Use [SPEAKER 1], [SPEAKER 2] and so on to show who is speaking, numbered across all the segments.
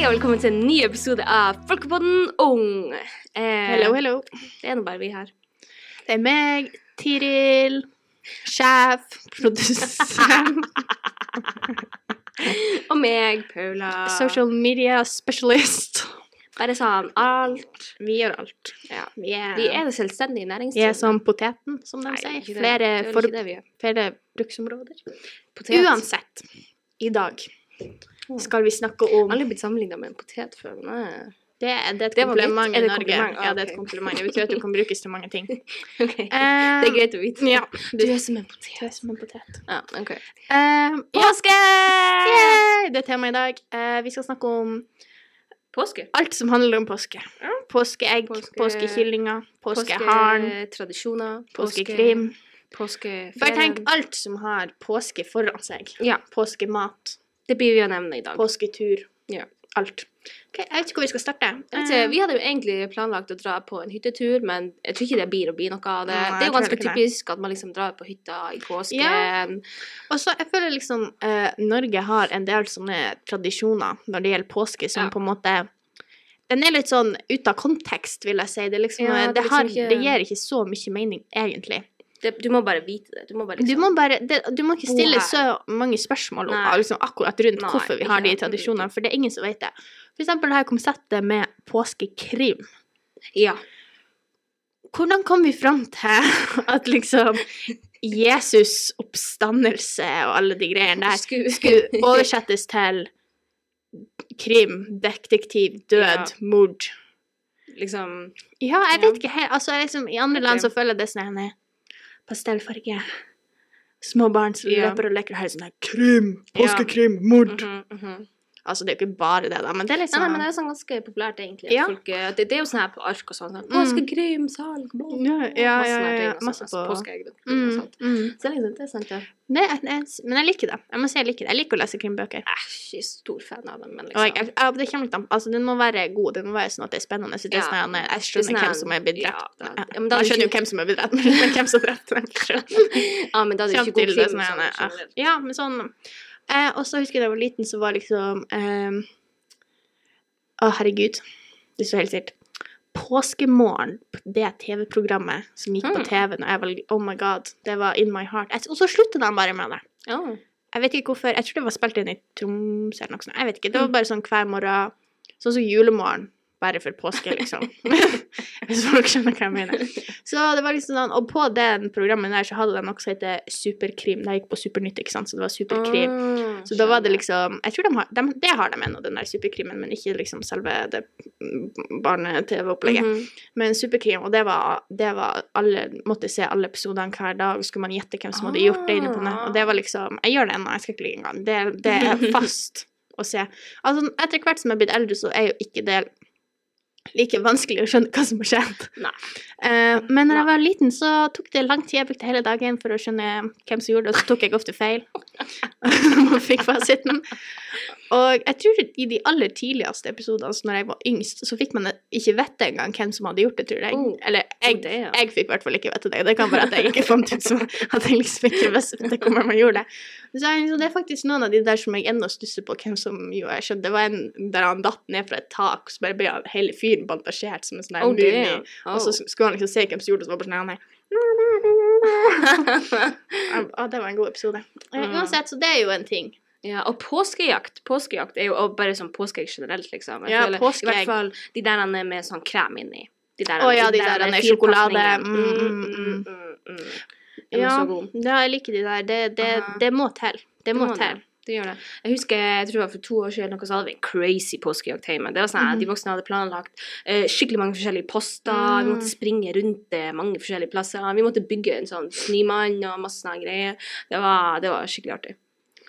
[SPEAKER 1] og velkommen til en ny episode av Folkepodden ung. Eh,
[SPEAKER 2] Hello, hello.
[SPEAKER 1] Det er nå bare vi her.
[SPEAKER 2] Det er meg, Tiril, sjef, produsent,
[SPEAKER 1] Og meg, Paula.
[SPEAKER 2] social media specialist.
[SPEAKER 1] Bare sånn alt.
[SPEAKER 2] Vi gjør alt.
[SPEAKER 1] Ja.
[SPEAKER 2] Vi er,
[SPEAKER 1] Vi er det selvstendige
[SPEAKER 2] vi er
[SPEAKER 1] næringsdrivende.
[SPEAKER 2] som poteten, som de
[SPEAKER 1] Nei,
[SPEAKER 2] sier.
[SPEAKER 1] ikke det.
[SPEAKER 2] Flere,
[SPEAKER 1] Det er
[SPEAKER 2] for,
[SPEAKER 1] ikke det vi gjør.
[SPEAKER 2] flere bruksområder.
[SPEAKER 1] Potet.
[SPEAKER 2] Uansett, i dag skal vi snakke om
[SPEAKER 1] Aldri blitt sammenligna med en potet før. men det-
[SPEAKER 2] Det, er- det er et
[SPEAKER 1] Det var litt-
[SPEAKER 2] kompliment
[SPEAKER 1] er
[SPEAKER 2] i
[SPEAKER 1] det
[SPEAKER 2] Norge.
[SPEAKER 1] kompliment? Ah,
[SPEAKER 2] Ja, det er et
[SPEAKER 1] ok.
[SPEAKER 2] kompliment. Det betyr at du kan brukes til mange ting.
[SPEAKER 1] Ok,
[SPEAKER 2] Eh,
[SPEAKER 1] Det er greit å vite.
[SPEAKER 2] Ja.
[SPEAKER 1] Du er som en potet.
[SPEAKER 2] Du er som en potet.
[SPEAKER 1] Ja, ok.
[SPEAKER 2] Eh, ja.
[SPEAKER 1] Påske!
[SPEAKER 2] Yay! Det er temaet i dag. Eh, vi skal snakke om
[SPEAKER 1] Påske.
[SPEAKER 2] Alt som handler om påske. Påskeegg,
[SPEAKER 1] Påske-
[SPEAKER 2] påskekyllinger, påskeharen,
[SPEAKER 1] Påsketradisjoner.
[SPEAKER 2] påskekrim.
[SPEAKER 1] Påskeferien.
[SPEAKER 2] Bare tenk alt som har påske foran seg.
[SPEAKER 1] Ja.
[SPEAKER 2] Påskemat,
[SPEAKER 1] Det blir vi å nevne i dag.
[SPEAKER 2] påsketur.
[SPEAKER 1] Ja.
[SPEAKER 2] Alt. Ok, jeg vet ikke hvor vi skal starte.
[SPEAKER 1] Jeg vet
[SPEAKER 2] Eh,
[SPEAKER 1] ikke, vi hadde jo egentlig planlagt å dra på en hyttetur, men jeg tror ikke det blir å bli noe av det. det
[SPEAKER 2] Nei,
[SPEAKER 1] er
[SPEAKER 2] jeg
[SPEAKER 1] jo
[SPEAKER 2] tror
[SPEAKER 1] ganske
[SPEAKER 2] ikke det.
[SPEAKER 1] typisk at man liksom drar på hytta i påsken.
[SPEAKER 2] Ja. Eh, Og så jeg føler liksom eh, Norge har en del sånne tradisjoner når det gjelder påske, som
[SPEAKER 1] Ja.
[SPEAKER 2] på en måte Den er litt sånn ut av kontekst, vil jeg si. Det, er liksom,
[SPEAKER 1] Ja,
[SPEAKER 2] det,
[SPEAKER 1] det er liksom
[SPEAKER 2] har,
[SPEAKER 1] ikke-
[SPEAKER 2] det gir ikke så mye mening, egentlig.
[SPEAKER 1] Det, du må bare vite det. Du må bare
[SPEAKER 2] Du
[SPEAKER 1] liksom
[SPEAKER 2] må, bare, det, du må ikke
[SPEAKER 1] Bo
[SPEAKER 2] stille
[SPEAKER 1] her.
[SPEAKER 2] så mange spørsmål om,
[SPEAKER 1] Nei.
[SPEAKER 2] liksom, akkurat rundt
[SPEAKER 1] Nei,
[SPEAKER 2] hvorfor vi
[SPEAKER 1] ikke
[SPEAKER 2] har de
[SPEAKER 1] det.
[SPEAKER 2] tradisjonene, for det er ingen som vet det. For eksempel det her konseptet med påskekrim.
[SPEAKER 1] Ja.
[SPEAKER 2] Hvordan kom vi fram til at liksom Jesus' oppstandelse og alle de greiene der
[SPEAKER 1] Sku-
[SPEAKER 2] skulle oversettes til krim, detektiv,
[SPEAKER 1] Ja.
[SPEAKER 2] død, mord?
[SPEAKER 1] liksom
[SPEAKER 2] Ja, jeg
[SPEAKER 1] Ja.
[SPEAKER 2] vet ikke helt. Altså, jeg liksom, I andre land
[SPEAKER 1] Ok.
[SPEAKER 2] så føler jeg det sånn her pastellfarge. Små barn som
[SPEAKER 1] Ja.
[SPEAKER 2] løper og leker, og her er sånn her Krim!
[SPEAKER 1] Ja.
[SPEAKER 2] Påskekrim! Mord!
[SPEAKER 1] mhm, mhm.
[SPEAKER 2] Altså, det er jo ikke bare det, da, men det er
[SPEAKER 1] Nei,
[SPEAKER 2] liksom
[SPEAKER 1] nei, men det er sånn ganske populært, egentlig. at
[SPEAKER 2] Ja.
[SPEAKER 1] Folk, eh, det, det er jo sånn her på ark og sånn. sånn
[SPEAKER 2] Mm.
[SPEAKER 1] Påskekrim, salg, bla, bla,
[SPEAKER 2] Ja, ja,
[SPEAKER 1] masse
[SPEAKER 2] ja,
[SPEAKER 1] sånne
[SPEAKER 2] ja,
[SPEAKER 1] ting,
[SPEAKER 2] ja.
[SPEAKER 1] og sånn,
[SPEAKER 2] Masse
[SPEAKER 1] altså,
[SPEAKER 2] på-
[SPEAKER 1] påskeegg, da, og
[SPEAKER 2] mm,
[SPEAKER 1] sånt.
[SPEAKER 2] mm.
[SPEAKER 1] Så det er liksom det, er sant, det.
[SPEAKER 2] Det er- det er- Men jeg liker det. Jeg må si jeg liker det. Jeg liker å lese krimbøker.
[SPEAKER 1] Æsj, jeg er stor fan av dem, men
[SPEAKER 2] Og
[SPEAKER 1] liksom
[SPEAKER 2] jeg, jeg, ja, det kommer litt an Altså, den må være god. Den må være sånn at det er spennende. Så det er
[SPEAKER 1] Ja.
[SPEAKER 2] sånn at jeg
[SPEAKER 1] Det er
[SPEAKER 2] skjønner
[SPEAKER 1] sånn
[SPEAKER 2] hvem
[SPEAKER 1] her-
[SPEAKER 2] som er blitt drept.
[SPEAKER 1] Ja,
[SPEAKER 2] Ja,
[SPEAKER 1] da- ja, men da er
[SPEAKER 2] jeg
[SPEAKER 1] det
[SPEAKER 2] skjønner jo
[SPEAKER 1] ikke-
[SPEAKER 2] hvem som er blitt drept, men hvem som drepte dem. skjønner.
[SPEAKER 1] Ja, men da er det
[SPEAKER 2] Kjem
[SPEAKER 1] ikke god
[SPEAKER 2] til det
[SPEAKER 1] krim.
[SPEAKER 2] sånn her,
[SPEAKER 1] sånn,
[SPEAKER 2] nei,
[SPEAKER 1] generelt.
[SPEAKER 2] ja. ja, men sånn eh, Og så husker jeg da jeg var liten, så var liksom eh, Å, herregud. Det står helt stilt. Påskemorgen, det TV-programmet som gikk på
[SPEAKER 1] Mm.
[SPEAKER 2] TV når jeg var Oh my god, det var in my heart. Jeg- Og så sluttet de bare med det.
[SPEAKER 1] Ja.
[SPEAKER 2] Jeg vet ikke hvorfor. Jeg tror det var spilt inn i Tromsø eller noe sånt. Jeg vet ikke. Det var bare sånn hver morgen. Sånn som julemorgen, bare for påske, liksom. Hvis folk skjønner hva jeg mener. Så det var liksom sånn, Og på den programmet der så hadde de noe som heter Superkrim. Det gikk på Supernytt, ikke sant, så det var Superkrim.
[SPEAKER 1] Ah,
[SPEAKER 2] Så da var det
[SPEAKER 1] skjønner.
[SPEAKER 2] liksom Jeg tror de har, de, det har de ennå, den der superkrimen, men ikke liksom selve det mm, barne-TV-opplegget.
[SPEAKER 1] Mhm.
[SPEAKER 2] Men Superkrim, og det var, det var alle måtte se alle episodene hver dag. Skulle man gjette hvem som hadde gjort det inne på nett. Og det var liksom Jeg gjør det ennå, jeg skal ikke lyve engang. Det, det er fast å se. Altså, etter hvert som jeg er blitt eldre, så er jo ikke det like vanskelig å skjønne hva som har skjedd.
[SPEAKER 1] Nei.
[SPEAKER 2] Eh, men når jeg
[SPEAKER 1] Nei.
[SPEAKER 2] var liten, så tok det lang tid. Jeg brukte hele dagen for å skjønne hvem som gjorde det, og så tok jeg ofte feil. Og fikk fasiten. Og jeg tror i de aller tidligste episodene, altså når jeg var yngst, så fikk man ikke vite engang hvem som hadde gjort det, tror jeg.
[SPEAKER 1] Oh.
[SPEAKER 2] Eller jeg,
[SPEAKER 1] det, ja.
[SPEAKER 2] jeg fikk i hvert fall ikke vite det. Det kan være at jeg ikke fant ut så at jeg liksom ikke visste det kommer man gjorde det. Så, jeg- så det er faktisk noen av de der som jeg ennå stusser på hvem som jo jeg skjønte. Det var en der han datt ned fra et tak, og så bare ble han- hele fyren bandasjert som en sånn her
[SPEAKER 1] Oh,
[SPEAKER 2] mumie.
[SPEAKER 1] damn.
[SPEAKER 2] Og så skulle han liksom se hvem som gjorde det, så var det bare sånn her, nei. Jeg- Å, det var en god episode. Eh,
[SPEAKER 1] Mm.
[SPEAKER 2] Uansett, så det er jo en ting.
[SPEAKER 1] ja, og påskejakt. Påskejakt er jo og bare sånn påskeegg generelt, liksom. Jeg
[SPEAKER 2] Ja,
[SPEAKER 1] føler- I
[SPEAKER 2] påskeegg.
[SPEAKER 1] hvert fall de der han er med sånn krem inni. De der,
[SPEAKER 2] Å ja, de der han er sjokolade.
[SPEAKER 1] firpakningene.
[SPEAKER 2] Mm,
[SPEAKER 1] Mm,
[SPEAKER 2] mm,
[SPEAKER 1] mm, mm, mm. Den er
[SPEAKER 2] Ja,
[SPEAKER 1] så god.
[SPEAKER 2] ja, jeg liker de der. Det, det,
[SPEAKER 1] Aha.
[SPEAKER 2] det må til. Det må
[SPEAKER 1] må det.
[SPEAKER 2] til.
[SPEAKER 1] Det gjør det. Jeg husker jeg tror det var for to år siden eller noe, så hadde vi en crazy påskejakt hjemme. Det var sånn at
[SPEAKER 2] Mhm.
[SPEAKER 1] De voksne hadde planlagt eh, skikkelig mange forskjellige poster.
[SPEAKER 2] Mm.
[SPEAKER 1] Vi måtte springe rundt det mange forskjellige plasser. Vi måtte bygge en sånn snømann og masse sånne greier. Det var, det var skikkelig artig.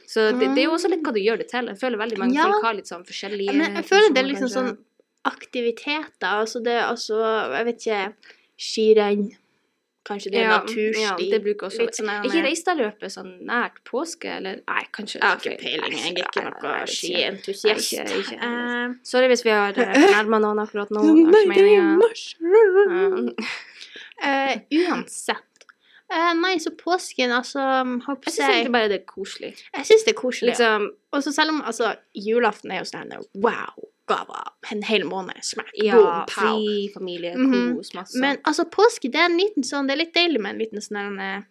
[SPEAKER 1] Så det, det er jo også litt hva du gjør det til. Jeg føler veldig mange
[SPEAKER 2] Ja.
[SPEAKER 1] folk har litt sånn forskjellige
[SPEAKER 2] Men jeg føler det er
[SPEAKER 1] funksjoner,
[SPEAKER 2] liksom
[SPEAKER 1] kanskje.
[SPEAKER 2] sånn aktiviteter. Altså det er altså Jeg vet ikke Skirenn. Kanskje det er
[SPEAKER 1] ja,
[SPEAKER 2] natursti.
[SPEAKER 1] ja, det bruker også
[SPEAKER 2] Litt sånn her
[SPEAKER 1] Ikke
[SPEAKER 2] med-
[SPEAKER 1] Reistadløpet sånn nært påske, eller Nei, kanskje.
[SPEAKER 2] Jeg har ikke
[SPEAKER 1] feil.
[SPEAKER 2] peiling. Jeg er ikke
[SPEAKER 1] Nei,
[SPEAKER 2] noe
[SPEAKER 1] jeg vet ikke. Nei, ikke-
[SPEAKER 2] skientusiast.
[SPEAKER 1] ikke heller.
[SPEAKER 2] Eh,
[SPEAKER 1] Sorry hvis vi har fornærma noen akkurat nå. det var ikke meningen. Ja.
[SPEAKER 2] Eh, uansett. Eh, nei, så påsken, altså holdt på
[SPEAKER 1] Jeg
[SPEAKER 2] å
[SPEAKER 1] syns
[SPEAKER 2] si-
[SPEAKER 1] egentlig bare det er koselig.
[SPEAKER 2] Jeg syns det er koselig.
[SPEAKER 1] Liksom,
[SPEAKER 2] Og så selv om altså, julaften er jo sånn her, wow, oppgaver en hel måned. Smack, boom,
[SPEAKER 1] Ja,
[SPEAKER 2] pow.
[SPEAKER 1] fri, familie,
[SPEAKER 2] Mhm.
[SPEAKER 1] kos, masse.
[SPEAKER 2] Men altså, påske det er en liten sånn Det er litt deilig med en liten sånn der, eh,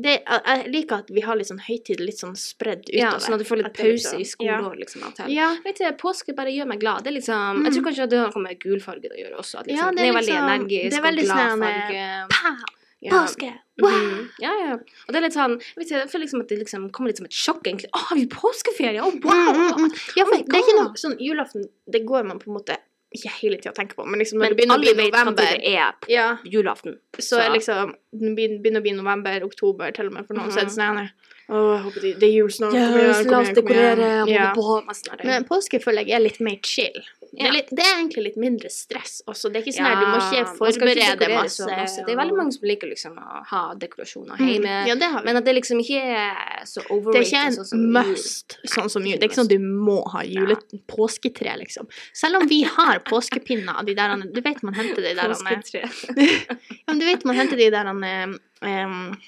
[SPEAKER 2] det, jeg- Jeg liker at vi har litt sånn høytid litt sånn spredd utover.
[SPEAKER 1] ja, sånn at du får litt
[SPEAKER 2] At det er
[SPEAKER 1] pause
[SPEAKER 2] sånn-
[SPEAKER 1] i
[SPEAKER 2] Ja.
[SPEAKER 1] skoleår, liksom. Av og til.
[SPEAKER 2] ja. Mhm.
[SPEAKER 1] Vet du, Påske bare gjør meg glad. Det er liksom, Jeg tror kanskje det har noe med gulfarge å gjøre også. At liksom,
[SPEAKER 2] Ja, det
[SPEAKER 1] den
[SPEAKER 2] er
[SPEAKER 1] er veldig
[SPEAKER 2] liksom- det
[SPEAKER 1] energisk
[SPEAKER 2] er veldig
[SPEAKER 1] og glad
[SPEAKER 2] sånn, eh,
[SPEAKER 1] farge.
[SPEAKER 2] Pow!
[SPEAKER 1] Ja.
[SPEAKER 2] Påske! Wow!
[SPEAKER 1] Mhm. Ja, ja. Og det er litt sånn jeg, vet ikke, jeg føler liksom at det liksom kommer litt som et sjokk, egentlig. Å, har vi påskeferie? Å, wow!
[SPEAKER 2] Mm, mm, mm. Ja,
[SPEAKER 1] Oh
[SPEAKER 2] for
[SPEAKER 1] my
[SPEAKER 2] det er ikke
[SPEAKER 1] God.
[SPEAKER 2] noe sånn julaften Det går man på en måte ikke hele tida å tenke på, men liksom når
[SPEAKER 1] Men
[SPEAKER 2] det begynner å
[SPEAKER 1] alle
[SPEAKER 2] bli
[SPEAKER 1] vet at
[SPEAKER 2] november
[SPEAKER 1] det er
[SPEAKER 2] ja,
[SPEAKER 1] julaften.
[SPEAKER 2] Så er liksom det begyn- begynner å bli november, oktober, til og med for noen så er det sånn her, Å, jeg håper det, det er jul snart. kom igjen, kom igjen, kom igjen». Ja. Men påske føler jeg er litt mer chill. Det,
[SPEAKER 1] Ja.
[SPEAKER 2] er litt, det er egentlig litt mindre stress også. Det er ikke sånn her, du må
[SPEAKER 1] Ja,
[SPEAKER 2] ikke
[SPEAKER 1] man skal ikke
[SPEAKER 2] forberede
[SPEAKER 1] dekorere
[SPEAKER 2] masse.
[SPEAKER 1] så masse. Det er veldig mange som liker liksom å ha dekorasjoner
[SPEAKER 2] Mm.
[SPEAKER 1] hjemme.
[SPEAKER 2] Ja, det har vi.
[SPEAKER 1] Men at det liksom ikke er så
[SPEAKER 2] Det
[SPEAKER 1] overrated.
[SPEAKER 2] er ikke en
[SPEAKER 1] sånn som jul.
[SPEAKER 2] must, sånn som jul. Det er ikke sånn du må ha jule påsketre, liksom. Selv om vi har påskepinner av de der Du vet man henter de der Anne.
[SPEAKER 1] Påsketre.
[SPEAKER 2] Ja, men du vet man henter de der Anne, em,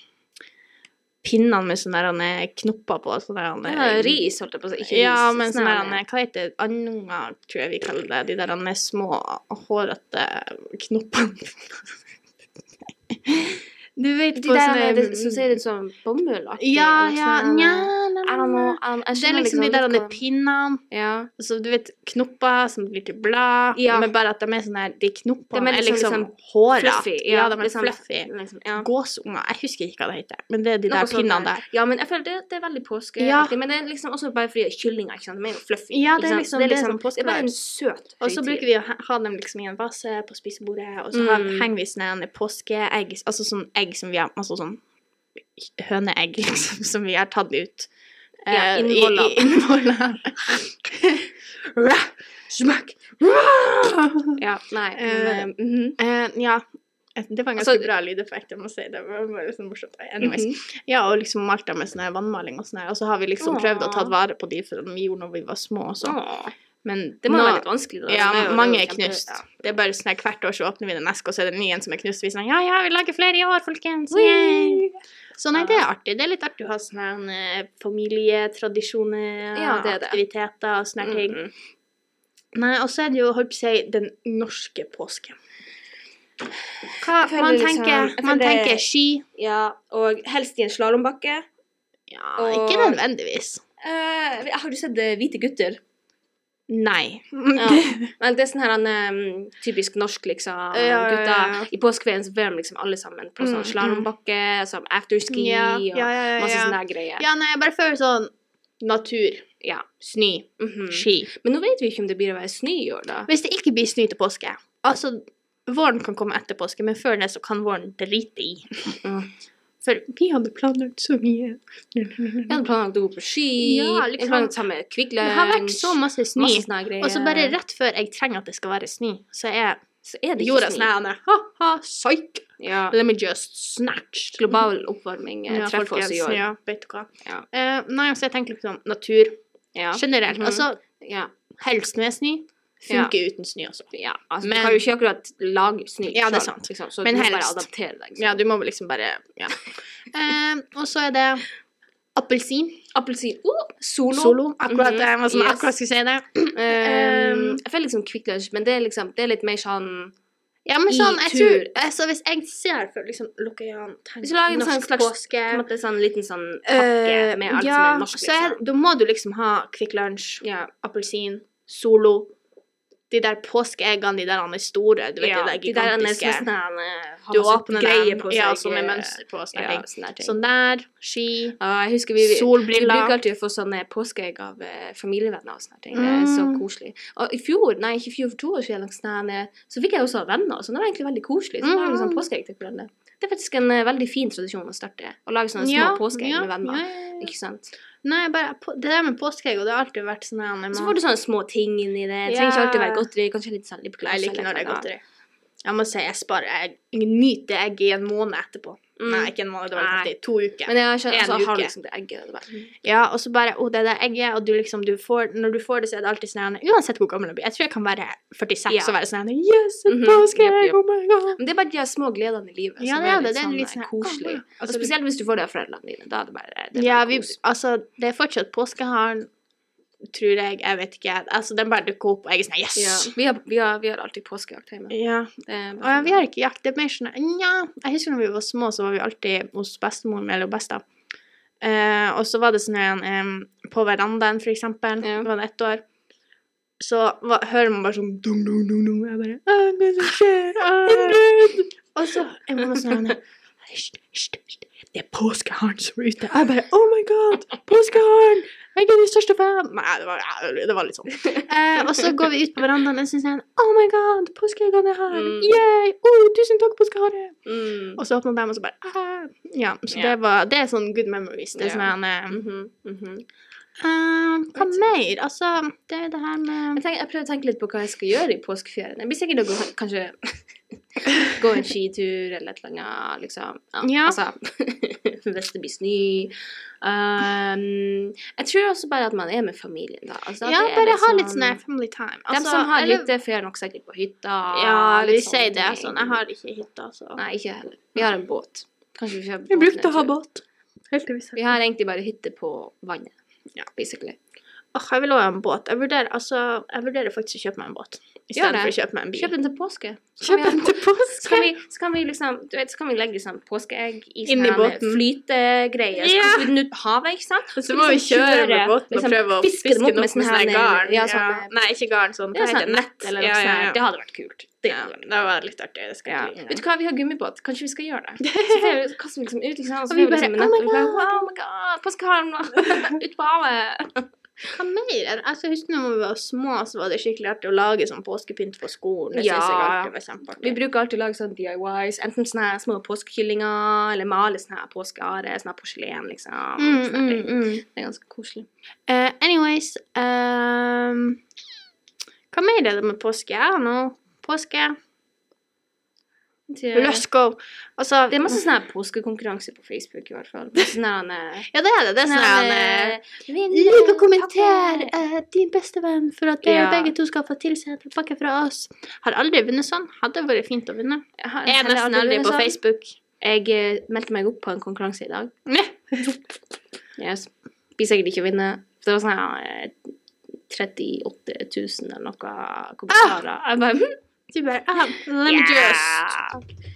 [SPEAKER 2] pinnene med sånne der Anne, knopper på. Sånne der, Anne,
[SPEAKER 1] Ja, ris, holdt jeg på å si. Ikke
[SPEAKER 2] Ja,
[SPEAKER 1] ris.
[SPEAKER 2] men
[SPEAKER 1] sånn
[SPEAKER 2] sånne der,
[SPEAKER 1] her-
[SPEAKER 2] Anne, hva heter det? Andunger, tror jeg vi kaller det. De der Anne, små, hårete knoppene. Du vet
[SPEAKER 1] De
[SPEAKER 2] på
[SPEAKER 1] der
[SPEAKER 2] sånne-
[SPEAKER 1] det- som ser ut som bomullaktig.
[SPEAKER 2] Ja,
[SPEAKER 1] eller
[SPEAKER 2] ja,
[SPEAKER 1] sånn,
[SPEAKER 2] nja, nja,
[SPEAKER 1] I don't know. I- jeg
[SPEAKER 2] Det er
[SPEAKER 1] skjønner
[SPEAKER 2] liksom de
[SPEAKER 1] litt
[SPEAKER 2] der Anne,
[SPEAKER 1] hva-
[SPEAKER 2] pinnene.
[SPEAKER 1] Ja.
[SPEAKER 2] Så du vet, knopper som blir til blad,
[SPEAKER 1] Ja.
[SPEAKER 2] men bare at de er sånn her De knoppene
[SPEAKER 1] De er
[SPEAKER 2] er
[SPEAKER 1] liksom-
[SPEAKER 2] liksom,
[SPEAKER 1] liksom
[SPEAKER 2] hårete.
[SPEAKER 1] fluffy,
[SPEAKER 2] Ja,
[SPEAKER 1] ja,
[SPEAKER 2] de er
[SPEAKER 1] liksom-
[SPEAKER 2] fluffy.
[SPEAKER 1] Liksom, ja.
[SPEAKER 2] Gåsunger. Jeg husker ikke hva det heter, men det er de
[SPEAKER 1] Noe
[SPEAKER 2] der
[SPEAKER 1] sånt
[SPEAKER 2] pinnene der.
[SPEAKER 1] Ja, men jeg føler det, det er veldig påskeaktig.
[SPEAKER 2] Ja.
[SPEAKER 1] Men det er liksom også bare fordi kyllinger, ikke sant. De er jo fluffy.
[SPEAKER 2] Ja,
[SPEAKER 1] ikke
[SPEAKER 2] det er
[SPEAKER 1] sant?
[SPEAKER 2] liksom-
[SPEAKER 1] det er,
[SPEAKER 2] det er
[SPEAKER 1] liksom,
[SPEAKER 2] sånn påske-
[SPEAKER 1] det er bare en søt
[SPEAKER 2] Og så
[SPEAKER 1] høytid.
[SPEAKER 2] bruker vi å ha- ha dem liksom i en vase på spisebordet, og så har-
[SPEAKER 1] Mm.
[SPEAKER 2] henger vi sånne påskeegg Altså sånn egg som vi har Altså sånn høneegg, liksom, som vi har tatt ut.
[SPEAKER 1] Ja,
[SPEAKER 2] eh, i-
[SPEAKER 1] innvoller.
[SPEAKER 2] i- innvoller. Rah, Smakk! Rah!
[SPEAKER 1] Ja, nei.
[SPEAKER 2] Eh,
[SPEAKER 1] Men, eh, mhm.
[SPEAKER 2] Eh, ja. Det var en ganske
[SPEAKER 1] Altså-
[SPEAKER 2] bra lydeffekt, jeg må si. Det var bare sånn morsomt. Anyways. Ja, og liksom malt dem med sånn her vannmaling og sånn her. Og så har vi liksom prøvd å ta
[SPEAKER 1] Åh.
[SPEAKER 2] vare på de for de gjorde når vi var små og sånn.
[SPEAKER 1] Åh,
[SPEAKER 2] Men
[SPEAKER 1] Det må jo
[SPEAKER 2] nå-
[SPEAKER 1] være litt vanskelig. da.
[SPEAKER 2] ja,
[SPEAKER 1] Det jo-
[SPEAKER 2] mange er
[SPEAKER 1] det jo kjempe-
[SPEAKER 2] knust.
[SPEAKER 1] ja.
[SPEAKER 2] Det er bare sånn her hvert år så åpner vi den eske, og så er det en ny en som er knust. Vi er sånn ja, ja, vi lager flere i år, folkens. Yay!
[SPEAKER 1] Whee!
[SPEAKER 2] Så nei, det er artig. Det er litt artig å ha sånne her, eh, familietradisjoner,
[SPEAKER 1] Ja, det er det.
[SPEAKER 2] aktiviteter og sånne her ting.
[SPEAKER 1] Mhm.
[SPEAKER 2] Nei, og så er det jo, holdt på å si, den norske påsken.
[SPEAKER 1] Hva-
[SPEAKER 2] Man tenker,
[SPEAKER 1] jeg
[SPEAKER 2] man
[SPEAKER 1] føler det-
[SPEAKER 2] tenker ski.
[SPEAKER 1] Ja, og helst i en slalåmbakke.
[SPEAKER 2] Ja,
[SPEAKER 1] Og-
[SPEAKER 2] ikke nødvendigvis.
[SPEAKER 1] Eh, har du sett eh, Hvite gutter?
[SPEAKER 2] Nei.
[SPEAKER 1] Ja. Men det er sånn her han, eh, typisk norsk, liksom.
[SPEAKER 2] Ja, ja, ja, ja.
[SPEAKER 1] Gutta. I påskeferien så var de liksom alle sammen på
[SPEAKER 2] Mm,
[SPEAKER 1] sånn slalåmbakke, som afterski
[SPEAKER 2] Ja,
[SPEAKER 1] og
[SPEAKER 2] ja, ja, ja,
[SPEAKER 1] masse
[SPEAKER 2] ja.
[SPEAKER 1] sånne her greier.
[SPEAKER 2] Ja, nei, jeg bare føler sånn natur,
[SPEAKER 1] Ja.
[SPEAKER 2] snø,
[SPEAKER 1] Mhm.
[SPEAKER 2] ski.
[SPEAKER 1] Men nå vet vi ikke om det blir å være snø i år, da.
[SPEAKER 2] Hvis det ikke blir snø til påske Altså, våren kan komme etter påske, men før det så kan våren drite i.
[SPEAKER 1] Mm.
[SPEAKER 2] For vi hadde planlagt så mye.
[SPEAKER 1] Jeg hadde planlagt å gå på ski,
[SPEAKER 2] Ja,
[SPEAKER 1] jeg
[SPEAKER 2] liksom.
[SPEAKER 1] hadde planlagt å ta med Kvikk
[SPEAKER 2] Det
[SPEAKER 1] Lunsj
[SPEAKER 2] har vært så masse snø.
[SPEAKER 1] masse sånne her greier.
[SPEAKER 2] Og så bare rett før jeg trenger at det skal være snø, så er
[SPEAKER 1] Så er det ikke
[SPEAKER 2] jorda sånn
[SPEAKER 1] snø.
[SPEAKER 2] her Anne. Ha-ha, psyk!
[SPEAKER 1] Ja.
[SPEAKER 2] Let me just snatch.
[SPEAKER 1] Global oppvarming eh, treffer oss i år.
[SPEAKER 2] Ja, vet du hva.
[SPEAKER 1] Ja.
[SPEAKER 2] Eh, nei, så jeg tenker liksom natur
[SPEAKER 1] Ja.
[SPEAKER 2] generelt.
[SPEAKER 1] Mhm.
[SPEAKER 2] Altså,
[SPEAKER 1] Ja.
[SPEAKER 2] helst med snø. Funker uten snø også.
[SPEAKER 1] ja. Altså,
[SPEAKER 2] Men-
[SPEAKER 1] du kan jo ikke akkurat lage snø
[SPEAKER 2] Ja, det er
[SPEAKER 1] selv,
[SPEAKER 2] sant.
[SPEAKER 1] Liksom, så
[SPEAKER 2] Men
[SPEAKER 1] du må bare
[SPEAKER 2] helst.
[SPEAKER 1] adaptere deg.
[SPEAKER 2] Ja, du må vel liksom bare Ja. Eh, og så er det appelsin.
[SPEAKER 1] Appelsin oh, Solo.
[SPEAKER 2] Solo. Eh, Akkurat
[SPEAKER 1] Mhm.
[SPEAKER 2] det jeg var sånn,
[SPEAKER 1] Yes.
[SPEAKER 2] akkurat skulle si det.
[SPEAKER 1] Ehm, jeg føler liksom Kvikk Lunsj, men det er liksom Det er litt mer sånn
[SPEAKER 2] Ja, men
[SPEAKER 1] I
[SPEAKER 2] sånn, jeg
[SPEAKER 1] tur.
[SPEAKER 2] tror altså, Hvis jeg ser for liksom lukker øynene,
[SPEAKER 1] Hvis du lager en sånn slags- På en
[SPEAKER 2] påske
[SPEAKER 1] måte sånn liten sånn pakke
[SPEAKER 2] eh,
[SPEAKER 1] med alt
[SPEAKER 2] ja,
[SPEAKER 1] som er norsk,
[SPEAKER 2] så er,
[SPEAKER 1] liksom.
[SPEAKER 2] da må du liksom ha Kvikk Lunsj,
[SPEAKER 1] Ja.
[SPEAKER 2] appelsin, Solo De der påskeeggene, de der andre store, du vet,
[SPEAKER 1] ja,
[SPEAKER 2] de der
[SPEAKER 1] de der er
[SPEAKER 2] gigantiske.
[SPEAKER 1] nesten sånn eh, har
[SPEAKER 2] du
[SPEAKER 1] masse
[SPEAKER 2] åpner
[SPEAKER 1] greier
[SPEAKER 2] dem,
[SPEAKER 1] på
[SPEAKER 2] ja,
[SPEAKER 1] seg,
[SPEAKER 2] som er
[SPEAKER 1] eh,
[SPEAKER 2] mønster på. Sånne
[SPEAKER 1] Ja,
[SPEAKER 2] ting.
[SPEAKER 1] sånne ting.
[SPEAKER 2] Sånn der, ski,
[SPEAKER 1] Ja, jeg husker vi, vi Vi
[SPEAKER 2] solbriller
[SPEAKER 1] bruker alltid å få sånne påskeegg av eh, familievenner og sånne ting. Det er så
[SPEAKER 2] Mm.
[SPEAKER 1] koselig. Og i fjor, nei, ikke i fjor, for to år siden, eller noe sånt, eh, så fikk jeg også venner, så det var egentlig veldig koselig. Så lager vi
[SPEAKER 2] Mm.
[SPEAKER 1] sånn påskeegg til hverandre. Det er faktisk en eh, veldig fin tradisjon å starte, å lage sånne små påskeegg med venner.
[SPEAKER 2] ja, ja, ja.
[SPEAKER 1] Ikke sant?
[SPEAKER 2] Nei, bare, på- det der med påskeegg, og det har alltid vært sånn her
[SPEAKER 1] Så får du sånne små ting inni det. Det trenger ikke alltid være godteri, kanskje litt sånn lipgloss.
[SPEAKER 2] Jeg liker
[SPEAKER 1] eller
[SPEAKER 2] når det er
[SPEAKER 1] noe.
[SPEAKER 2] godteri. Jeg må si, jeg sparer jeg, nyter egg i en måned etterpå.
[SPEAKER 1] Mm.
[SPEAKER 2] Nei, ikke en måned, det var
[SPEAKER 1] Nei.
[SPEAKER 2] kanskje i to uker.
[SPEAKER 1] Men jeg skjønner,
[SPEAKER 2] En
[SPEAKER 1] altså, har
[SPEAKER 2] uke.
[SPEAKER 1] du liksom det egget og det bare
[SPEAKER 2] ja, og så bare, å, det der egget, og du liksom, du får, når du får det, så er det alltid sånn her, uansett hvor gammel jeg blir. Jeg tror jeg kan være 46
[SPEAKER 1] Ja.
[SPEAKER 2] og være sånn her, yes, et
[SPEAKER 1] Mhm,
[SPEAKER 2] påskeegg,
[SPEAKER 1] jepp, jepp.
[SPEAKER 2] oh my god.
[SPEAKER 1] Men det er bare de her små gledene i livet
[SPEAKER 2] Ja,
[SPEAKER 1] som
[SPEAKER 2] det er det,
[SPEAKER 1] litt
[SPEAKER 2] det er
[SPEAKER 1] sånn,
[SPEAKER 2] litt
[SPEAKER 1] eh,
[SPEAKER 2] sånn her,
[SPEAKER 1] koselig.
[SPEAKER 2] «Åh, wow».
[SPEAKER 1] Og spesielt hvis du får det av foreldrene dine. Da er det bare det er
[SPEAKER 2] Ja,
[SPEAKER 1] bare
[SPEAKER 2] vi,
[SPEAKER 1] kos.
[SPEAKER 2] altså, det er fortsatt påskeharen, tror jeg. Jeg vet ikke. Altså, den bare dukker opp, og jeg er sånn Yes!
[SPEAKER 1] Ja, vi, har, vi, har, vi har alltid påskejakt hjemme.
[SPEAKER 2] Ja.
[SPEAKER 1] Det er
[SPEAKER 2] Og ja,
[SPEAKER 1] bare
[SPEAKER 2] vi har ikke jakt. Det er mer sånn Nja. Jeg husker når vi var små, så var vi alltid hos bestemoren eller besta. Eh, og så var det sånn en eh, På verandaen, for eksempel.
[SPEAKER 1] Ja.
[SPEAKER 2] Det var det ett år. Så var, hører man bare sånn dung, dung, dung, dung. Jeg bare «Åh, Hva er det som skjer? Åh!» Og så er mamma sånn Hysj, hysj, hysj. Det er påskeharen som er ute. Jeg bare Oh my god! Påskeharen! Jeg er din største fan! Nei, det var, det var litt sånn. Eh, og så går vi ut på verandaen, og så sier han Oh my god, påskeharen er her!
[SPEAKER 1] Mm.
[SPEAKER 2] Yay! Oh, tusen takk, påskeharen!
[SPEAKER 1] mm.
[SPEAKER 2] Og så åpner de, og så bare «Ah!» Ja, så
[SPEAKER 1] Ja.
[SPEAKER 2] det var Det er sånn good memories. Det er
[SPEAKER 1] Ja.
[SPEAKER 2] sånn eh,
[SPEAKER 1] Mhm, mhm.
[SPEAKER 2] eh, Hva mer? Altså, det er det her
[SPEAKER 1] Jeg,
[SPEAKER 2] med
[SPEAKER 1] tenker, jeg prøver å tenke litt på hva jeg skal gjøre i påskeferien. Jeg blir sikkert å gå, kanskje gå en skitur eller et eller annet, liksom.
[SPEAKER 2] Ja.
[SPEAKER 1] Altså, hvis det blir snø. Um, jeg tror også bare at man er med familien, da. Altså,
[SPEAKER 2] Ja,
[SPEAKER 1] det er
[SPEAKER 2] bare ha litt
[SPEAKER 1] sånn-
[SPEAKER 2] sånn eh, family time.
[SPEAKER 1] Dem som har
[SPEAKER 2] eller-
[SPEAKER 1] hytte, drar nok sikkert på hytta.
[SPEAKER 2] Ja,
[SPEAKER 1] litt
[SPEAKER 2] vi
[SPEAKER 1] sånne
[SPEAKER 2] sier det.
[SPEAKER 1] ting.
[SPEAKER 2] Sånn, jeg har ikke hytte, altså.
[SPEAKER 1] Nei, ikke jeg heller. Vi har en båt. Kanskje vi kjøper
[SPEAKER 2] Vi brukte å ha
[SPEAKER 1] båten en tur.
[SPEAKER 2] båt. Helt til vi
[SPEAKER 1] Vi har egentlig bare hytte på vannet,
[SPEAKER 2] Ja.
[SPEAKER 1] basically.
[SPEAKER 2] Åh, jeg vil også ha en båt. Jeg vurderer, altså, jeg vurderer faktisk å kjøpe meg en båt. I
[SPEAKER 1] Gjør
[SPEAKER 2] stedet
[SPEAKER 1] det.
[SPEAKER 2] for å kjøpe meg en bil.
[SPEAKER 1] Kjøp den til påske. Så kan
[SPEAKER 2] Kjøp
[SPEAKER 1] vi ha
[SPEAKER 2] en til påske!
[SPEAKER 1] Skal vi, skal vi liksom Du vet, så kan vi legge sånn påskeegg i
[SPEAKER 2] Inn i
[SPEAKER 1] sånne her
[SPEAKER 2] båten.
[SPEAKER 1] flytegreier. Så
[SPEAKER 2] Ja.
[SPEAKER 1] kaster vi den ut på havet, ikke sant?
[SPEAKER 2] Så må vi kjøre med båten
[SPEAKER 1] liksom
[SPEAKER 2] og prøve å
[SPEAKER 1] fiske
[SPEAKER 2] fiske
[SPEAKER 1] dem
[SPEAKER 2] den
[SPEAKER 1] opp med
[SPEAKER 2] opp med
[SPEAKER 1] sånne
[SPEAKER 2] sånn her
[SPEAKER 1] her-
[SPEAKER 2] garn.
[SPEAKER 1] ja, sånn-
[SPEAKER 2] Nei, ikke garn, sånn.
[SPEAKER 1] Ja,
[SPEAKER 2] Hva heter
[SPEAKER 1] sånn
[SPEAKER 2] det?
[SPEAKER 1] nett eller noe
[SPEAKER 2] ja, ja,
[SPEAKER 1] sånt.
[SPEAKER 2] ja.
[SPEAKER 1] Det hadde vært kult. Det
[SPEAKER 2] Ja,
[SPEAKER 1] hadde vært kult.
[SPEAKER 2] det var litt artig. Det skal
[SPEAKER 1] Ja.
[SPEAKER 2] jeg ikke
[SPEAKER 1] Vet
[SPEAKER 2] lide.
[SPEAKER 1] du hva, vi har gummibåt. Kanskje vi skal gjøre det? Så får vi- så kaster vi liksom ut, liksom, og så
[SPEAKER 2] Og vi
[SPEAKER 1] får vi liksom
[SPEAKER 2] bare,
[SPEAKER 1] en nett, og
[SPEAKER 2] «Oh my
[SPEAKER 1] vi bare
[SPEAKER 2] God!»
[SPEAKER 1] Wow, oh my god, påskeharen og- ut på havet.
[SPEAKER 2] Hva mer? Altså, jeg husker når vi var små, så var det skikkelig artig å lage sånn påskepynt på skolen. Det
[SPEAKER 1] Ja.
[SPEAKER 2] synes jeg alltid var kjempeartig.
[SPEAKER 1] Vi bruker alltid å lage sånn DIYs, enten sånne her små påskekyllinger, eller male sånne her påskeare, sånne her porselen, liksom.
[SPEAKER 2] Mm,
[SPEAKER 1] Sånne ting.
[SPEAKER 2] mm, mm.
[SPEAKER 1] Det er ganske koselig.
[SPEAKER 2] Eh, anyways ehm, Hva mer er det med påske? Jeg har nå påske.
[SPEAKER 1] Det-
[SPEAKER 2] Let's go! Altså,
[SPEAKER 1] Det er masse sånne her påskekonkurranser på Facebook, i hvert fall. Masse Sånne her, eh,
[SPEAKER 2] ja, det er det. Det er sånn
[SPEAKER 1] sånne
[SPEAKER 2] eh,
[SPEAKER 1] her, eh, vinner
[SPEAKER 2] Ligg og kommenter
[SPEAKER 1] pakke.
[SPEAKER 2] eh, din beste venn for at
[SPEAKER 1] Ja.
[SPEAKER 2] dere begge to skal få tilsendt en pakke fra oss. Har aldri vunnet sånn. Hadde vært fint å vinne.
[SPEAKER 1] Jeg har-
[SPEAKER 2] Jeg er
[SPEAKER 1] har jeg
[SPEAKER 2] nesten
[SPEAKER 1] aldri
[SPEAKER 2] aldri
[SPEAKER 1] vunnet
[SPEAKER 2] på
[SPEAKER 1] sånn?
[SPEAKER 2] Facebook.
[SPEAKER 1] Jeg eh, meldte meg opp på en konkurranse i dag.
[SPEAKER 2] Nei.
[SPEAKER 1] Yes. Blir sikkert ikke å vinne. For det var sånn her eh, 38 000 eller noe kommentarer. Jeg bare hm,
[SPEAKER 2] Du bare ah, Let me just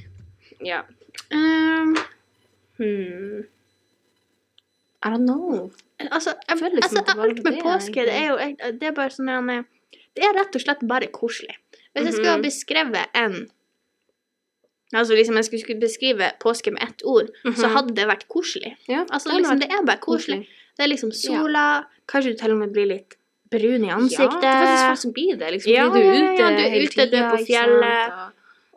[SPEAKER 1] Ja.
[SPEAKER 2] Ehm,
[SPEAKER 1] Hmm. I don't know.
[SPEAKER 2] Altså, jeg,
[SPEAKER 1] føler liksom
[SPEAKER 2] altså,
[SPEAKER 1] at det var
[SPEAKER 2] alt med
[SPEAKER 1] det,
[SPEAKER 2] påske, det er jo Det er bare sånn en- Det er rett og slett bare koselig. Hvis jeg skulle ha
[SPEAKER 1] Mhm.
[SPEAKER 2] beskrevet en Altså liksom jeg skulle- skulle beskrive påske med ett ord, så
[SPEAKER 1] Mhm.
[SPEAKER 2] hadde det vært koselig.
[SPEAKER 1] Ja,
[SPEAKER 2] Altså
[SPEAKER 1] det hadde
[SPEAKER 2] liksom,
[SPEAKER 1] vært
[SPEAKER 2] Det er bare koselig. Det er liksom sola, kanskje du til og med blir litt brun i
[SPEAKER 1] Ja,
[SPEAKER 2] ansiktet.
[SPEAKER 1] det er faktisk folk som blir det. Liksom.
[SPEAKER 2] Ja,
[SPEAKER 1] Fordi du er
[SPEAKER 2] ja,
[SPEAKER 1] ute
[SPEAKER 2] ja, du er
[SPEAKER 1] hele
[SPEAKER 2] ute, du er
[SPEAKER 1] tida, ikke
[SPEAKER 2] på
[SPEAKER 1] sant,
[SPEAKER 2] fjellet.
[SPEAKER 1] og-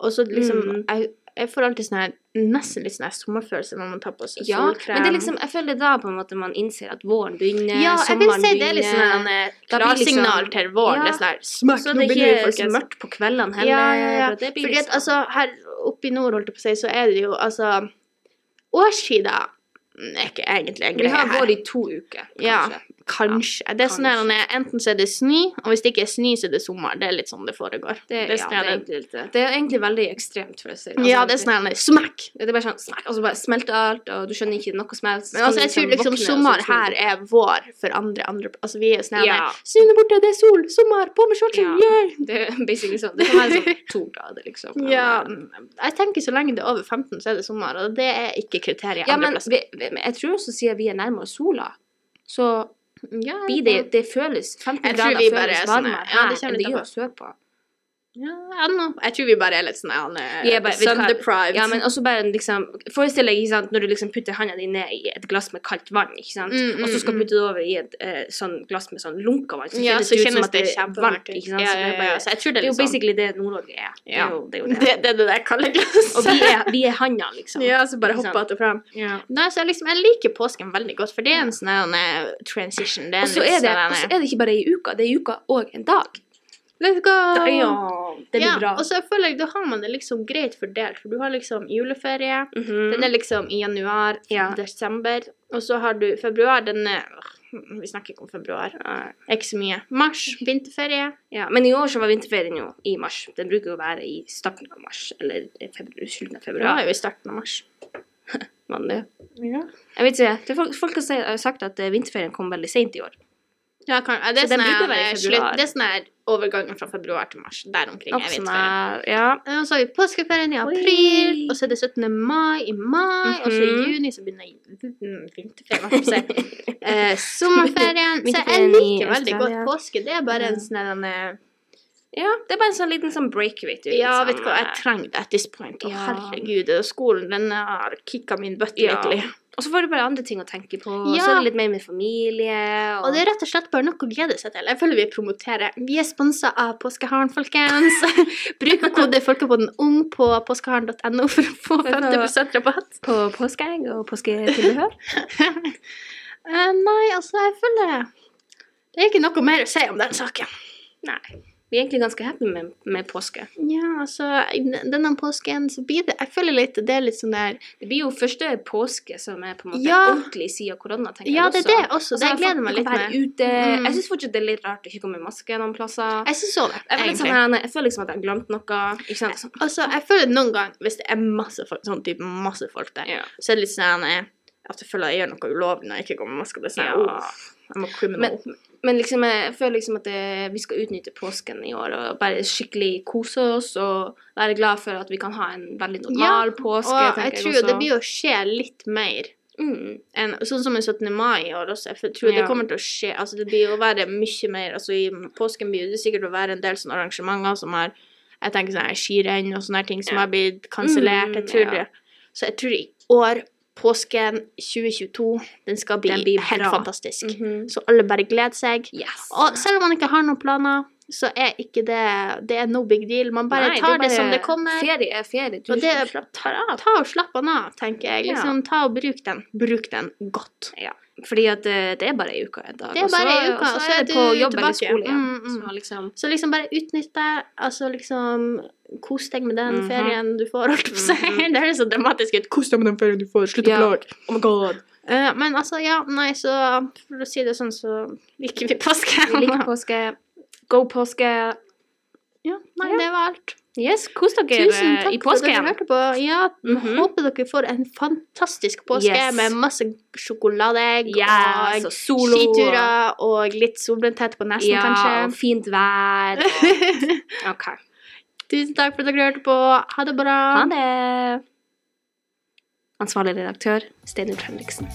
[SPEAKER 2] og så liksom
[SPEAKER 1] Mm.
[SPEAKER 2] jeg, jeg får alltid sånn her nesten litt sånn her sommerfølelse når man tar på seg
[SPEAKER 1] Ja,
[SPEAKER 2] solkrem.
[SPEAKER 1] men det er liksom, jeg føler det er da på en måte man innser at våren begynner,
[SPEAKER 2] ja, jeg vil
[SPEAKER 1] sommeren
[SPEAKER 2] si det er litt
[SPEAKER 1] begynner.
[SPEAKER 2] sånn en
[SPEAKER 1] Da blir liksom-
[SPEAKER 2] klarsignal til våren.
[SPEAKER 1] Ja.
[SPEAKER 2] Det er sånn her Smakk,
[SPEAKER 1] så
[SPEAKER 2] nå
[SPEAKER 1] det
[SPEAKER 2] begynner vi,
[SPEAKER 1] ikke er så
[SPEAKER 2] folkens.
[SPEAKER 1] mørkt på kveldene heller.
[SPEAKER 2] Ja, ja, ja.
[SPEAKER 1] og det blir
[SPEAKER 2] Fordi at
[SPEAKER 1] liksom-
[SPEAKER 2] altså, her oppe i nord, holdt jeg på å si, så er det jo altså Årstida er ikke egentlig en
[SPEAKER 1] vi
[SPEAKER 2] greie
[SPEAKER 1] har
[SPEAKER 2] her.
[SPEAKER 1] vår i to uker,
[SPEAKER 2] Ja.
[SPEAKER 1] kanskje.
[SPEAKER 2] Kanskje. det er sånn her, Enten så er det snø, og hvis det ikke er snø, så er det sommer. Det er litt sånn det foregår.
[SPEAKER 1] Det,
[SPEAKER 2] Det er
[SPEAKER 1] ja,
[SPEAKER 2] sånn
[SPEAKER 1] det, er
[SPEAKER 2] her-
[SPEAKER 1] egentlig, litt det. det er egentlig veldig ekstremt, for å si det Altså,
[SPEAKER 2] ja, det er sånn her, smakk!
[SPEAKER 1] Det er bare sånn snakk, og så bare smelter alt, og du skjønner ikke noe som helst. Sånn
[SPEAKER 2] Men altså, jeg tror liksom sommer her
[SPEAKER 1] er
[SPEAKER 2] er vår for andre andre Altså, vi er jo sånn her
[SPEAKER 1] Ja.
[SPEAKER 2] Snøen er borte, det er sol, sommer, på med shortsen,
[SPEAKER 1] Ja.
[SPEAKER 2] yeah!
[SPEAKER 1] Det er basically sånn. Det kan være sånn to grader, liksom. Men,
[SPEAKER 2] Ja, mm,
[SPEAKER 1] eh,
[SPEAKER 2] jeg tenker så lenge det er over 15, så er det sommer, og det er ikke kriteriet
[SPEAKER 1] ja men
[SPEAKER 2] andre
[SPEAKER 1] vi, vi, men jeg tror også siden vi er nærmere sola, så
[SPEAKER 2] plasser. Ja,
[SPEAKER 1] blir det Det føles 15
[SPEAKER 2] Jeg tror
[SPEAKER 1] grader
[SPEAKER 2] vi bare
[SPEAKER 1] føles
[SPEAKER 2] er sånn
[SPEAKER 1] varmere
[SPEAKER 2] her, ja,
[SPEAKER 1] her
[SPEAKER 2] det kommer
[SPEAKER 1] enn
[SPEAKER 2] litt
[SPEAKER 1] det
[SPEAKER 2] an
[SPEAKER 1] gjør sørpå.
[SPEAKER 2] Ja, I don't know. Jeg tror vi bare er litt sånn han er
[SPEAKER 1] Vi er bare- vet du hva?
[SPEAKER 2] sun-deprived.
[SPEAKER 1] Ja, men også bare liksom Forestill deg ikke sant, når du liksom putter handa di ned i et glass med kaldt vann, ikke sant,
[SPEAKER 2] Mm, mm,
[SPEAKER 1] og så skal
[SPEAKER 2] mm.
[SPEAKER 1] du putte det over i et eh, sånn glass med sånn lunka vann, så kjennes
[SPEAKER 2] ja, så
[SPEAKER 1] det ut som
[SPEAKER 2] kjennes
[SPEAKER 1] at
[SPEAKER 2] det
[SPEAKER 1] det er varmt,
[SPEAKER 2] kjempevarmt ut.
[SPEAKER 1] ikke sant.
[SPEAKER 2] Ja,
[SPEAKER 1] Så det
[SPEAKER 2] ja,
[SPEAKER 1] er
[SPEAKER 2] ja,
[SPEAKER 1] bare
[SPEAKER 2] ja. Så jeg tror
[SPEAKER 1] Det
[SPEAKER 2] det
[SPEAKER 1] er
[SPEAKER 2] er
[SPEAKER 1] jo
[SPEAKER 2] litt sånn.
[SPEAKER 1] basically det Nord-Norge er. Det
[SPEAKER 2] Ja.
[SPEAKER 1] er jo det. Er jo det.
[SPEAKER 2] Det, det er det der kalde glasset.
[SPEAKER 1] Og vi er, vi er handa, liksom.
[SPEAKER 2] ja, så bare
[SPEAKER 1] Ikke sant?
[SPEAKER 2] hoppe att og fram.
[SPEAKER 1] Ja.
[SPEAKER 2] Nei, så jeg liksom, jeg liker påsken veldig godt, for det er en sånn her, han er transition. Det
[SPEAKER 1] Og
[SPEAKER 2] er en
[SPEAKER 1] så
[SPEAKER 2] litt
[SPEAKER 1] er, det-
[SPEAKER 2] sånn,
[SPEAKER 1] og så
[SPEAKER 2] han er-
[SPEAKER 1] er det ikke bare ei uke, det er ei uke og en dag.
[SPEAKER 2] Let's go!
[SPEAKER 1] det blir
[SPEAKER 2] ja,
[SPEAKER 1] bra.
[SPEAKER 2] Og så føler jeg, da har man det liksom greit fordelt, for du har liksom juleferie,
[SPEAKER 1] Mhm.
[SPEAKER 2] Den er liksom i januar,
[SPEAKER 1] Ja.
[SPEAKER 2] desember. Og så har du februar. Den er Åh, Vi snakker ikke om februar.
[SPEAKER 1] Nei.
[SPEAKER 2] Ikke så mye. Mars, vinterferie.
[SPEAKER 1] Ja, men i år så var vinterferien jo i mars. Den bruker jo å være i starten av mars, eller i februar, slutten av
[SPEAKER 2] Bra
[SPEAKER 1] februar.
[SPEAKER 2] er jo i starten av mars.
[SPEAKER 1] Man, det. Jeg vet ikke, det er folk, folk har sagt- har sagt at eh, vinterferien kom veldig sent i år.
[SPEAKER 2] Ja, kan, ja, det,
[SPEAKER 1] Så
[SPEAKER 2] er
[SPEAKER 1] den
[SPEAKER 2] sånn
[SPEAKER 1] burde
[SPEAKER 2] her,
[SPEAKER 1] være i
[SPEAKER 2] slutt,
[SPEAKER 1] februar.
[SPEAKER 2] det er sånn her overgangen fra februar til mars. Der omkring. Jeg vet
[SPEAKER 1] Absolutt.
[SPEAKER 2] ikke.
[SPEAKER 1] sånn, eh, Ja.
[SPEAKER 2] Og Eh, så har vi påskeferien i
[SPEAKER 1] Oi.
[SPEAKER 2] april, og så er det 17. mai i mai, og så i
[SPEAKER 1] Mhm.
[SPEAKER 2] juni så begynner mm, vinterferien. hva skal jeg si. Eh, sommerferien. Så jeg
[SPEAKER 1] Vinterferien i
[SPEAKER 2] liker veldig godt
[SPEAKER 1] Australia.
[SPEAKER 2] påske. Det er bare
[SPEAKER 1] Ja.
[SPEAKER 2] en sånn her, eh,
[SPEAKER 1] ja. Det er bare en sånn liten sånn break, vet du.
[SPEAKER 2] Ja,
[SPEAKER 1] liksom,
[SPEAKER 2] vet du hva, jeg
[SPEAKER 1] eh,
[SPEAKER 2] trenger det at this point. Å,
[SPEAKER 1] Ja.
[SPEAKER 2] herregud, det er skolen den har kicka min bøtte
[SPEAKER 1] Ja.
[SPEAKER 2] virkelig.
[SPEAKER 1] Og så får du bare andre ting å tenke på. og Så
[SPEAKER 2] Ja.
[SPEAKER 1] er det litt mer med familie.
[SPEAKER 2] Og det er rett og slett bare nok å glede seg til. Jeg føler vi promoterer. Vi er sponsa av Påskeharen, folkens. Bruk kode Folkepodden ung på påskeharen.no for å få 50 rabatt.
[SPEAKER 1] på påskeegg og påsketilbehør.
[SPEAKER 2] Eh, nei, altså, jeg føler Det er ikke noe mer å si om den saken.
[SPEAKER 1] Nei. Vi er egentlig ganske happy med, med påske.
[SPEAKER 2] Ja, altså, denne påsken så blir det Jeg føler litt Det er litt sånn der
[SPEAKER 1] Det blir jo første påske som er på en måte
[SPEAKER 2] Ja.
[SPEAKER 1] ordentlig siden korona, tenker
[SPEAKER 2] Ja, det
[SPEAKER 1] jeg
[SPEAKER 2] er det
[SPEAKER 1] Altså,
[SPEAKER 2] også. Det
[SPEAKER 1] folk
[SPEAKER 2] gleder jeg meg litt
[SPEAKER 1] kan være
[SPEAKER 2] med.
[SPEAKER 1] Ute.
[SPEAKER 2] Mm.
[SPEAKER 1] Jeg syns fortsatt det er litt rart å ikke gå med maske noen plasser.
[SPEAKER 2] Jeg syns òg det,
[SPEAKER 1] Jeg føler, litt
[SPEAKER 2] egentlig.
[SPEAKER 1] sånn, her, jeg føler liksom at jeg har glemt noe. Ikke sant? Sånn,
[SPEAKER 2] Altså, jeg føler noen gang, hvis det er masse folk, sånn type masse folk der,
[SPEAKER 1] ja.
[SPEAKER 2] så er det litt sånn eh, at jeg føler jeg gjør noe ulovlig når jeg ikke går med maske. Det er sånn,
[SPEAKER 1] Ja.
[SPEAKER 2] «Åh, I'm a criminal.
[SPEAKER 1] Men, men liksom, jeg føler liksom at det, vi skal utnytte påsken i år og bare skikkelig kose oss og være glad for at vi kan ha en veldig normal påske.
[SPEAKER 2] og
[SPEAKER 1] tenker
[SPEAKER 2] jeg tror
[SPEAKER 1] også.
[SPEAKER 2] det blir å skje litt mer
[SPEAKER 1] mm.
[SPEAKER 2] enn Sånn som den 17. mai i år også. Jeg tror det
[SPEAKER 1] Ja.
[SPEAKER 2] kommer til å skje Altså, det blir å være mye mer Altså, i påsken blir det sikkert å være en del sånne arrangementer som har Jeg tenker sånn her skirenn og sånne her ting som
[SPEAKER 1] Ja.
[SPEAKER 2] har blitt kansellert. Jeg
[SPEAKER 1] Mm,
[SPEAKER 2] tror
[SPEAKER 1] ja.
[SPEAKER 2] det. Så jeg tror i år, påsken 2022, den skal bli
[SPEAKER 1] Den blir
[SPEAKER 2] helt
[SPEAKER 1] bra.
[SPEAKER 2] fantastisk.
[SPEAKER 1] Mhm.
[SPEAKER 2] Så alle bare gleder seg.
[SPEAKER 1] Yes.
[SPEAKER 2] Og selv om man ikke har noen planer, så er ikke det Det er no big deal. Man bare
[SPEAKER 1] Nei,
[SPEAKER 2] tar
[SPEAKER 1] er
[SPEAKER 2] det, som
[SPEAKER 1] bare-
[SPEAKER 2] det kommer.
[SPEAKER 1] Ferie er ferie. Du
[SPEAKER 2] Og det
[SPEAKER 1] skal slappe
[SPEAKER 2] tar av. Ta og slapp den av, tenker jeg. Liksom, Ta og bruk den. Bruk den godt.
[SPEAKER 1] Fordi at eh, det er bare ei uke en dag.
[SPEAKER 2] Det er
[SPEAKER 1] og så-
[SPEAKER 2] bare ei uke,
[SPEAKER 1] og så er det
[SPEAKER 2] du
[SPEAKER 1] på jobb eller
[SPEAKER 2] tilbake.
[SPEAKER 1] skole igjen.
[SPEAKER 2] Mm, mm.
[SPEAKER 1] Så liksom
[SPEAKER 2] Så liksom bare utnytt det. Altså liksom Kos deg med den
[SPEAKER 1] Mhm.
[SPEAKER 2] ferien du får, holdt på å si.
[SPEAKER 1] Mhm.
[SPEAKER 2] Det høres så dramatisk ut. Kos deg med den ferien du får. Slutt
[SPEAKER 1] Ja.
[SPEAKER 2] å klage.
[SPEAKER 1] Oh my god.
[SPEAKER 2] Eh, men altså, ja, nei, så For å si det sånn, så liker vi påske.
[SPEAKER 1] Vi liker påske. Go påske.
[SPEAKER 2] Ja, nei,
[SPEAKER 1] Ja.
[SPEAKER 2] det var alt.
[SPEAKER 1] Yes, kos dere
[SPEAKER 2] Tusen
[SPEAKER 1] eh,
[SPEAKER 2] takk
[SPEAKER 1] i
[SPEAKER 2] for at dere
[SPEAKER 1] påsken.
[SPEAKER 2] hørte på. Ja,
[SPEAKER 1] Mhm.
[SPEAKER 2] Håper dere får en fantastisk påske
[SPEAKER 1] Yes.
[SPEAKER 2] med masse sjokoladeegg
[SPEAKER 1] Yes,
[SPEAKER 2] og
[SPEAKER 1] og altså, solo. og-
[SPEAKER 2] skiturer og litt solbrenthet på nesen,
[SPEAKER 1] Ja, og
[SPEAKER 2] kanskje.
[SPEAKER 1] fint vær. Og... OK.
[SPEAKER 2] Tusen takk for at dere hørte på. Ha det bra.
[SPEAKER 1] Ha det. Ansvarlig redaktør, Steinar Henriksen.